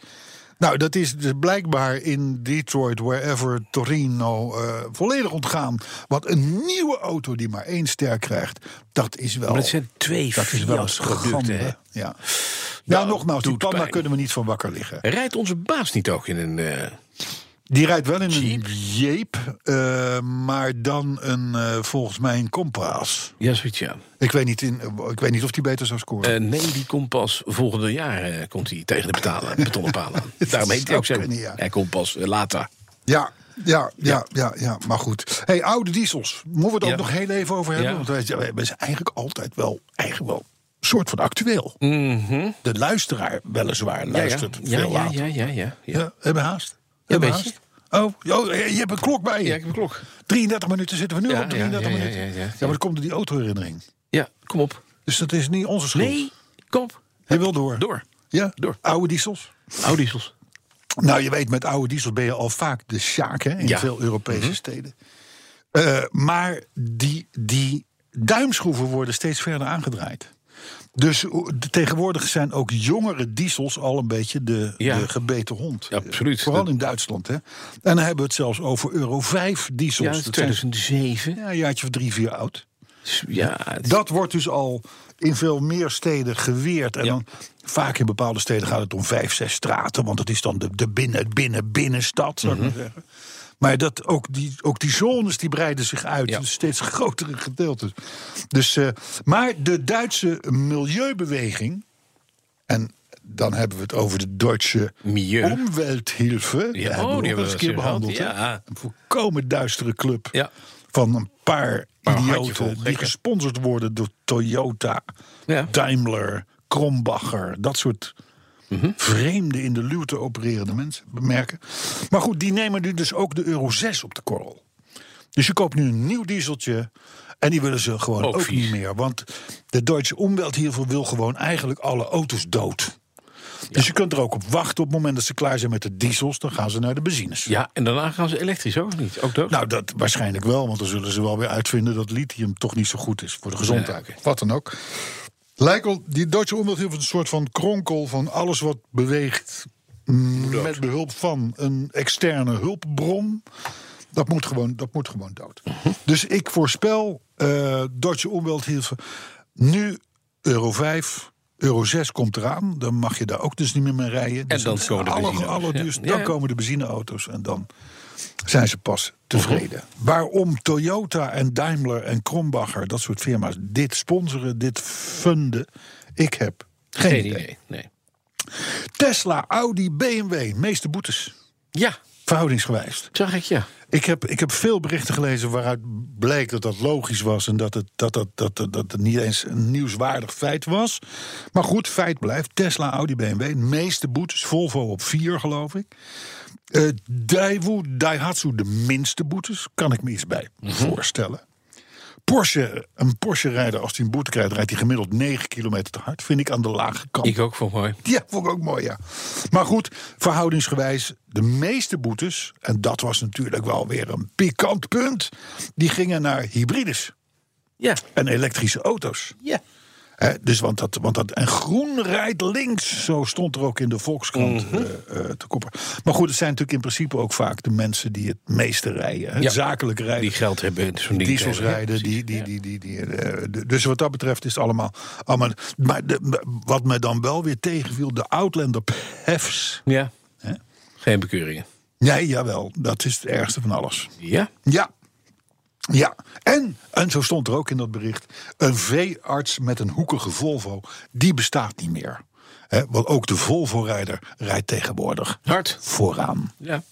Nou, dat is dus blijkbaar in Detroit, wherever Torino, eh, volledig ontgaan. Want een nieuwe auto die maar één ster krijgt, dat is wel. maar dat zijn twee dat is wel een schande. Fiat-producten, hè? Ja. ja, nou, nogmaals, die doet panda pijn. kunnen we niet van wakker liggen. Rijdt onze baas niet ook in een... eh, Die rijdt wel in een jeep, eh, maar dan een, eh, volgens mij een Compass. ja, zoiets, ja. Ik weet, niet in, ik weet niet of die beter zou scoren. Eh, nee, die komt pas volgende jaar eh, komt hij tegen de betalen, betonnen paal aan. Daarom heet hij zou ook zo. kunnen, ja. Hij komt pas eh, later. ja, ja, ja, ja, ja, maar goed. hey, oude diesels. Moeten we het ook Ja. nog heel even over hebben? Ja. Want wij, wij- wij zijn eigenlijk altijd wel, eigenlijk wel een soort van actueel. De luisteraar weliswaar luistert Mhm. ja, veel ja, later. ja, ja, ja, ja. Ja, hebben we haast? Hebben we beetje. haast? Oh, joh, je je hebt een klok bij je. Ja, ik heb een klok. 33 minuten zitten we nu Ja, op, 33 ja, ja, minuten. ja, ja, ja. maar dat komt door die autoherinnering. Ja, kom op. Dus dat is niet onze schuld. Nee, kom op. Je wil door. Door. Ja, Door. Oude diesels. Hou diesels. Nou, je weet, met oude diesels ben je al vaak de sjaak hè, in Ja. Mhm. veel Europese steden. Eh, maar die, die duimschroeven worden steeds verder aangedraaid. Dus o- de- tegenwoordig zijn ook jongere diesels al een beetje de, Ja. de gebeten hond. Ja, absoluut. Vooral Dat- in Duitsland. Hè? En dan hebben we het zelfs over Euro 5 Ja, diesels. dat zijn 2007. ja, een jaartje of drie, vier oud. Ja, het- Dat wordt dus al in veel meer steden geweerd. En Ja. dan, vaak in bepaalde steden gaat het om vijf, zes straten. Want het is dan de, de binnen, binnen, binnenstad, zou ik Mhm. maar zeggen. Maar dat, ook, die, ook die zones die breiden zich uit. Ja. in Steeds grotere gedeeltes. Dus, eh, maar de Duitse milieubeweging... en dan hebben we het over de Duitse Milieu. Omwelthilfe. Ja, oh, die ook hebben wel eens we een keer eens gehad, behandeld. hè. ja. Een volkomen duistere club Ja. van een paar, Paar handjevol idioten die gekken. gesponsord worden door Toyota, Ja. Daimler, Krombacher, dat soort Mhm. vreemde in de luwte opererende mensen merken. Maar goed, die nemen nu dus ook de Euro 6 op de korrel. Dus je koopt nu een nieuw dieseltje en die willen ze gewoon Ook ook, vies. niet meer, want de Duitse Umwelt hiervoor wil gewoon eigenlijk alle auto's dood. Dus je kunt er ook op wachten op het moment dat ze klaar zijn met de diesels, dan gaan ze naar de benzines. ja, en daarna gaan ze elektrisch ook niet. Ook dat? Nou, dat waarschijnlijk wel, want dan zullen ze wel weer uitvinden dat lithium toch niet zo goed is voor de gezondheid. Nee, Wat dan ook. Lijkt wel, die Duitse omweg heeft een soort van kronkel van alles wat beweegt. mm, Met behulp van een externe hulpbron. Dat moet gewoon, dat moet gewoon dood. Mhm. Dus ik voorspel eh Duitse Umwelthilfe. Nu euro 5, euro 6 komt eraan. Dan mag je daar ook dus niet meer mee rijden. Dus dan het komen de aller- benzineauto's, allerduurste- ja. Dan Ja. komen de benzineauto's en dan zijn ze pas tevreden. Mhm. Waarom Toyota en Daimler en Krombacher, dat soort firma's, dit sponsoren, dit funden, ik heb geen, Geen idee. idee. Nee. Tesla, Audi, BMW, meeste boetes, Ja, verhoudingsgewijs. zag ik ja. Ik heb, ik heb veel berichten gelezen waaruit bleek dat dat logisch was en dat het, dat, dat, dat, dat, dat het niet eens een nieuwswaardig feit was. Maar goed, feit blijft: Tesla, Audi, BMW, de meeste boetes, Volvo op vier, geloof ik. Eh Daewoo, Daihatsu, de minste boetes, kan ik me iets bij voorstellen. Porsche, een Porsche-rijder, als hij een boete krijgt, rijdt hij gemiddeld 9 kilometer te hard. Vind ik aan de lage kant. Ik ook voor mooi. Ja, vond ik ook mooi, ja. Maar goed, verhoudingsgewijs, de meeste boetes... en dat was natuurlijk wel weer een pikant punt... die gingen naar hybrides Ja, en elektrische auto's. ja. Hè, dus want dat, want dat, en groen rijdt links, zo stond er ook in de Volkskrant Mhm. eh, eh, te koppen. Maar goed, het zijn natuurlijk in principe ook vaak de mensen die het meeste rijden. Hè, Ja. zakelijk rijden Die geld hebben, zo'n ding. diesels tegen, hè? rijden. Die, die, die, die, die, eh, de- dus wat dat betreft is het allemaal. allemaal maar de- wat me dan wel weer tegenviel, de Outlander PHEVs. Ja. Hè? Geen bekeuringen. Nee, jawel, dat is het ergste van alles. Ja. Ja. Ja, en, en zo stond er ook in dat bericht... een veearts met een hoekige Volvo, die bestaat niet meer. Hè, want ook de Volvo-rijder rijdt tegenwoordig Hard. vooraan. Ja.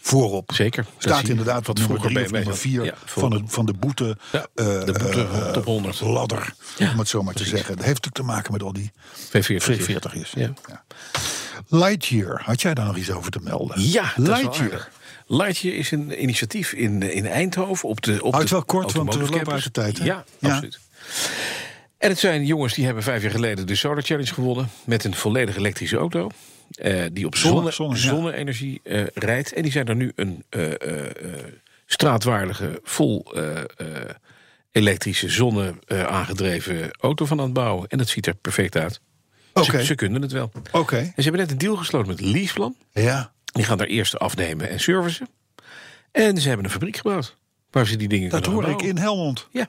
voorop. Zeker. Dat zie Staat je. inderdaad wat Dat nummer vroeger drie of bij- nummer bij- vier ja, van, het, van de boete, Ja, eh, de boete eh, top 100. ladder, Ja, om het zo maar te precies. zeggen. Dat heeft natuurlijk te maken met al die V40's. 40 is. Ja. Lightyear, had jij daar nog iets over te melden? Ja, dat is wel Lightyear. aardig. Lightyear is een initiatief in, eh, in Eindhoven. Op de, op Houd de wel kort, want we automotive lopen uit de campus. tijd, hè? Ja, Ja. absoluut. En het zijn jongens die hebben vijf jaar geleden de Solar Challenge gewonnen. Met een volledig elektrische auto. eh, die op Zonne- zonne, zonne, ja. zonne-energie eh, rijdt. En die zijn daar nu een eh, eh, eh, straatwaardige, vol eh, eh, elektrische, zonne eh, aangedreven auto van aan het bouwen. En dat ziet er perfect uit. Oké. Ze, ze kunnen het wel. Oké, En ze hebben net een deal gesloten met Leaseplan. ja. Die gaan daar eerst afnemen en servicen. En ze hebben een fabriek gebouwd. Waar ze die dingen Dat kunnen hoor ik in bouwen. Helmond. Ja,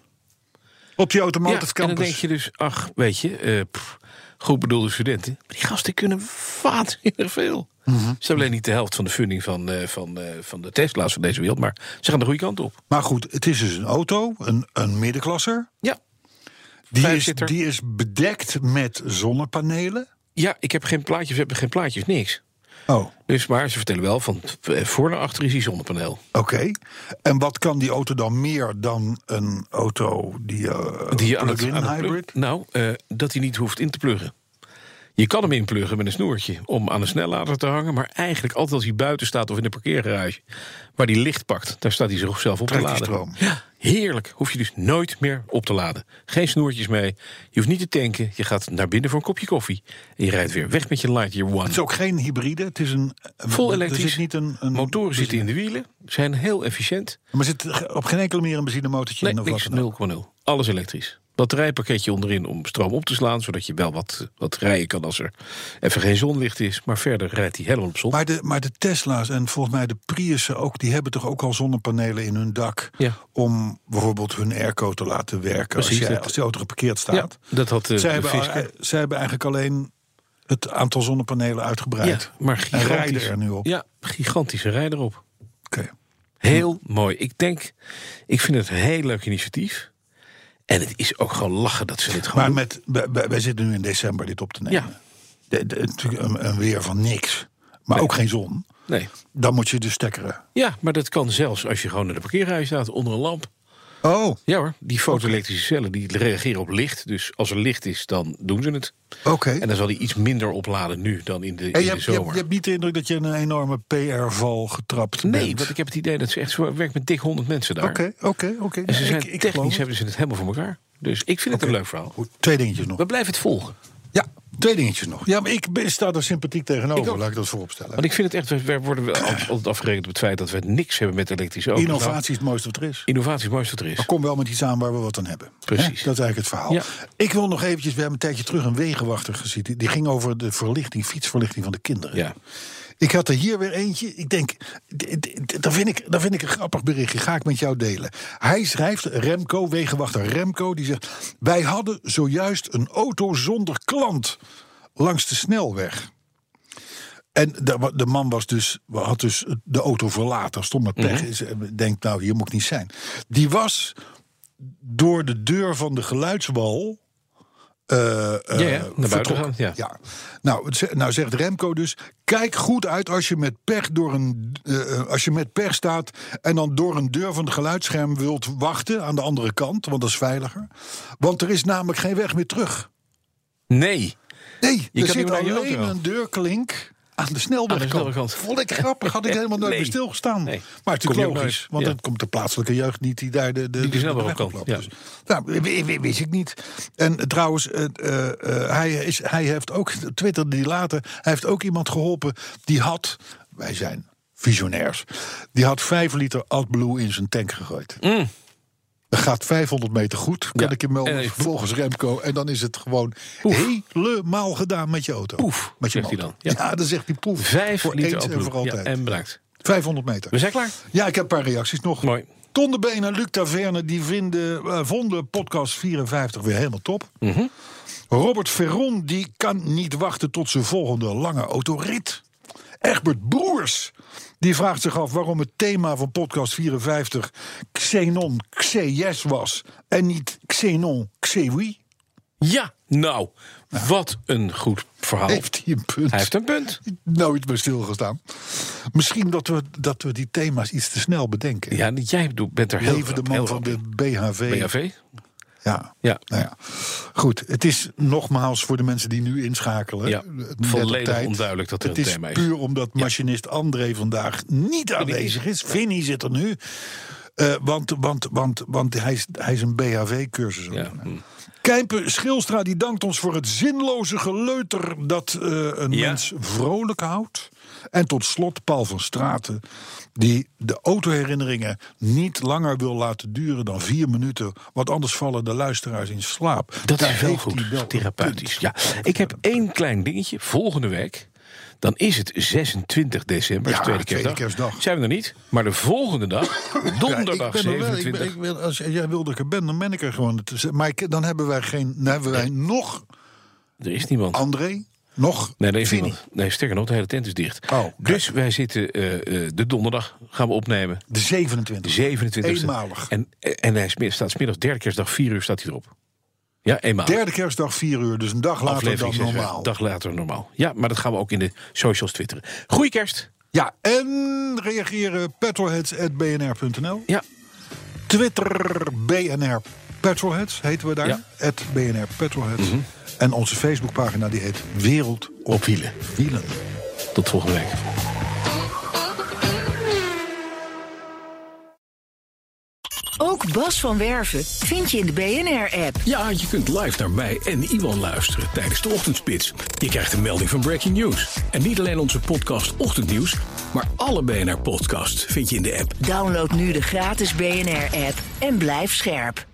Op die ja. Automotive en dan denk Campus. je dus, ach, weet je, eh, pff, goed bedoelde studenten. Die gasten kunnen waanzinnig veel. Mhm. Ze hebben alleen niet de helft van de funding van, eh, van, eh, van de Tesla's van deze wereld. Maar ze gaan de goede kant op. Maar goed, het is dus een auto, een, een middenklasser. Ja, Die is, Vijfzitter. die is bedekt met zonnepanelen. ja ik heb geen plaatjes, we hebben geen plaatjes, niks. Oh, Dus, maar ze vertellen wel, van eh, voor naar achter is die zonnepaneel. Oké. En wat kan die auto dan meer dan een auto die, eh Die je aan het, plug-in aan het plug- hybrid? nou, eh, dat hij niet hoeft in te pluggen. Je kan hem inpluggen met een snoertje om aan een snellader te hangen. Maar eigenlijk altijd als hij buiten staat of in een parkeergarage... waar hij licht pakt, daar staat hij zichzelf op Trekt te hij laden. stroom. Ja, heerlijk. Hoef je dus nooit meer op te laden. Geen snoertjes mee. Je hoeft niet te tanken. Je gaat naar binnen voor een kopje koffie. En je rijdt weer weg met je Lightyear One. Het is ook geen hybride. Het is een Vol Er elektrisch. zit niet een, een Motoren zitten in de wielen. Zijn heel efficiënt. Maar zit op geen enkele manier een benzinemotortje Nee, in of niks wat nou? dan ook. 0,0. Alles elektrisch. batterijpakketje onderin om stroom op te slaan. Zodat je wel wat, wat rijden kan als er even geen zonlicht is. Maar verder rijdt hij helemaal op zon. Maar de, maar de Tesla's en volgens mij de Priussen ook, die hebben toch ook al zonnepanelen in hun dak. Ja. Om bijvoorbeeld hun airco te laten werken. Precies, als, jij, dat- als die auto geparkeerd ja, staat. dat had eh, zij, de hebben, al- Fisker. eh, zij hebben eigenlijk alleen het aantal zonnepanelen Ja, uitgebreid. maar En rijden gigantisch. er nu op. Ja, gigantische rijder op. Oké. Heel Hm. mooi. Ik denk, ik vind het een heel leuk initiatief. En het is ook gewoon lachen dat ze dit gewoon Maar doen. met, wij- wij wij zitten nu in december dit op te nemen. Ja. De- de- natuurlijk een, een weer van niks. Maar ook geen zon. Nee. Dan moet je dus stekkeren. Ja, maar dat kan zelfs als je gewoon in de parkeerrij staat onder een lamp. Oh, Ja hoor, die fotoelektrische cellen die reageren op licht. Dus als er licht is, dan doen ze het. oké. En dan zal die iets minder opladen nu dan in de, En in je, de hebt, je, hebt, zomer. je hebt niet de indruk dat je in een enorme PR-val getrapt bent. nee, want ik heb het idee dat ze echt zo werkt met dik honderd mensen daar. Oké, oké, oké. En ze Nou, zijn ik- ik geloof technisch het. hebben ze het helemaal voor elkaar. Dus ik vind het een leuk verhaal. Goed, Twee dingetjes nog. We blijven het volgen. Ja, twee dingetjes nog. Ja, maar ik ben- sta er sympathiek tegenover, Ik ook. laat ik dat vooropstellen. Want ik vind het echt, we- we worden wel altijd afgerekend op het feit dat we niks hebben met elektrische auto's. Nou, Innovatie is het mooiste wat er is. Innovatie is het mooiste wat er is. Kom wel met iets aan waar we wat aan hebben. Precies. Hè? Dat is eigenlijk het verhaal. Ja. Ik wil nog eventjes, we hebben een tijdje terug een wegenwachter gezien. Die, die ging over de verlichting, fietsverlichting van de kinderen. Ja. Ik had er hier weer eentje. Ik denk, d- d- d- dat vind ik, dat vind ik een grappig berichtje. Ga ik met jou delen. Hij schrijft, Remco, wegenwachter Remco, die zegt... Wij hadden zojuist een auto zonder klant langs de snelweg. En de, wa- de man was dus, had dus de auto verlaten. Stond met Mhm. pech. Is- Denkt, nou, hier moet ik niet zijn. Die was door de deur van de geluidswal... eh, eh, ja, naar buiten gegaan, vertrokken. ja. Ja. Nou, het ze- nou zegt Remco dus: kijk goed uit als je met pech door een eh, eh, als je met pech staat en dan door een deur van het geluidsscherm wilt wachten aan de andere kant, want dat is veiliger. Want er is namelijk geen weg meer terug. Nee. Nee, niet er meer zit naar je auto alleen gaan. een deurklink aan de Aan de snelwegkant. snelwegkant. Vond ik grappig, had ik helemaal nooit Nee. bij stilgestaan. Nee. Maar het is Kom je ook logisch, nooit, want ja. dan komt de plaatselijke jeugd niet die daar de, de, de de snelweg weg op kan, oploopt. ja. Dus, nou, w- w- w- wist ik niet. En eh, trouwens, eh, eh, eh, hij, is, hij heeft ook, twitterde die later, hij heeft ook iemand geholpen die had, wij zijn visionairs, die had 5 liter AdBlue in zijn tank gegooid. Dat gaat 500 meter goed, kan Mm. Ja. ik je En melden, even- volgens Remco. En dan is het gewoon helemaal gedaan met je auto. Poef, met je zegt hij motor. dan. Ja. dan zegt hij poef. Vijf voor liter eens en Opel. voor Ja, altijd. en bedankt. 500 meter. We zijn klaar. Ja, ik heb een paar reacties nog. Mooi. Ton de Been en Luc Taverne die vinden, eh, vonden podcast 54 weer helemaal top. Mhm. Robert Ferron die kan niet wachten tot zijn volgende lange autorit. Egbert Broers die vraagt zich af waarom het thema van podcast 54 Xenon Xes was en niet Xenon Xewi. Ja, nou, wat een goed verhaal. Heeft hij een punt? Oh. Hij heeft een punt. Nooit bij stilgestaan. Misschien dat we, dat we die thema's iets te snel bedenken. Ja, jij doet- bent er heel Leven de rap- man heel van rap de in. BHV? Ja. Ja. Nou ja, goed. Het is nogmaals voor de mensen die nu inschakelen. Ja, net op volledig onduidelijk dat er het een is thema is. puur omdat machinist André vandaag niet aanwezig is. Vinnie zit er nu. Eh, want, want, want, want hij is, hij is een BHV-cursus. Ja, hm. Kijmpe Schilstra die dankt ons voor het zinloze geleuter dat eh, een Ja. mens vrolijk houdt. En tot slot Paul van Straten, die de autoherinneringen niet langer wil laten duren dan vier minuten. Want anders vallen de luisteraars in slaap. Dat Daar is wel heeft goed, hij wel een therapeutisch. punt. Ja. Ik heb één klein dingetje. Volgende week, dan is het 26 december, Ja, de tweede, tweede kerstdag. kerstdag. Zijn we er niet, maar de volgende dag, donderdag Ja, ik ben er wel. Ik ben- 27. ik ben- als jij wilde dat ik er ben, dan ben ik er gewoon. Het is- Maar ik- dan hebben wij geen. Dan hebben wij nog Er is niemand. André, nog Nee, er is Vinnie. niemand. Nee, sterker nog, de hele tent is dicht. Oh, kijk. dus wij zitten eh, eh, de donderdag, gaan we opnemen. De 27. 27 Eenmalig. En, en hij is mid- staat smiddags, derde kerstdag, vier uur staat hij erop. Ja, eenmalig. Derde kerstdag, 4 uur. Dus een dag later dan Aflevering zes, normaal. Dag later normaal. Ja, maar dat gaan we ook in de socials twitteren. Goeie kerst. Ja, en reageren petrolheads.bnr.nl. Ja, Twitter BNR Petrolheads heten we daar. Ja. At BNR Petrolheads. En onze Facebookpagina die heet Wereld op wielen. Wielen. tot volgende week. Ook Bas van Werven vind je in de BNR-app. Ja, je kunt live naar mij en Iwan luisteren tijdens de ochtendspits. Je krijgt een melding van Breaking News. En niet alleen onze podcast Ochtendnieuws, maar alle BNR-podcasts vind je in de app. Download nu de gratis BNR-app en blijf scherp.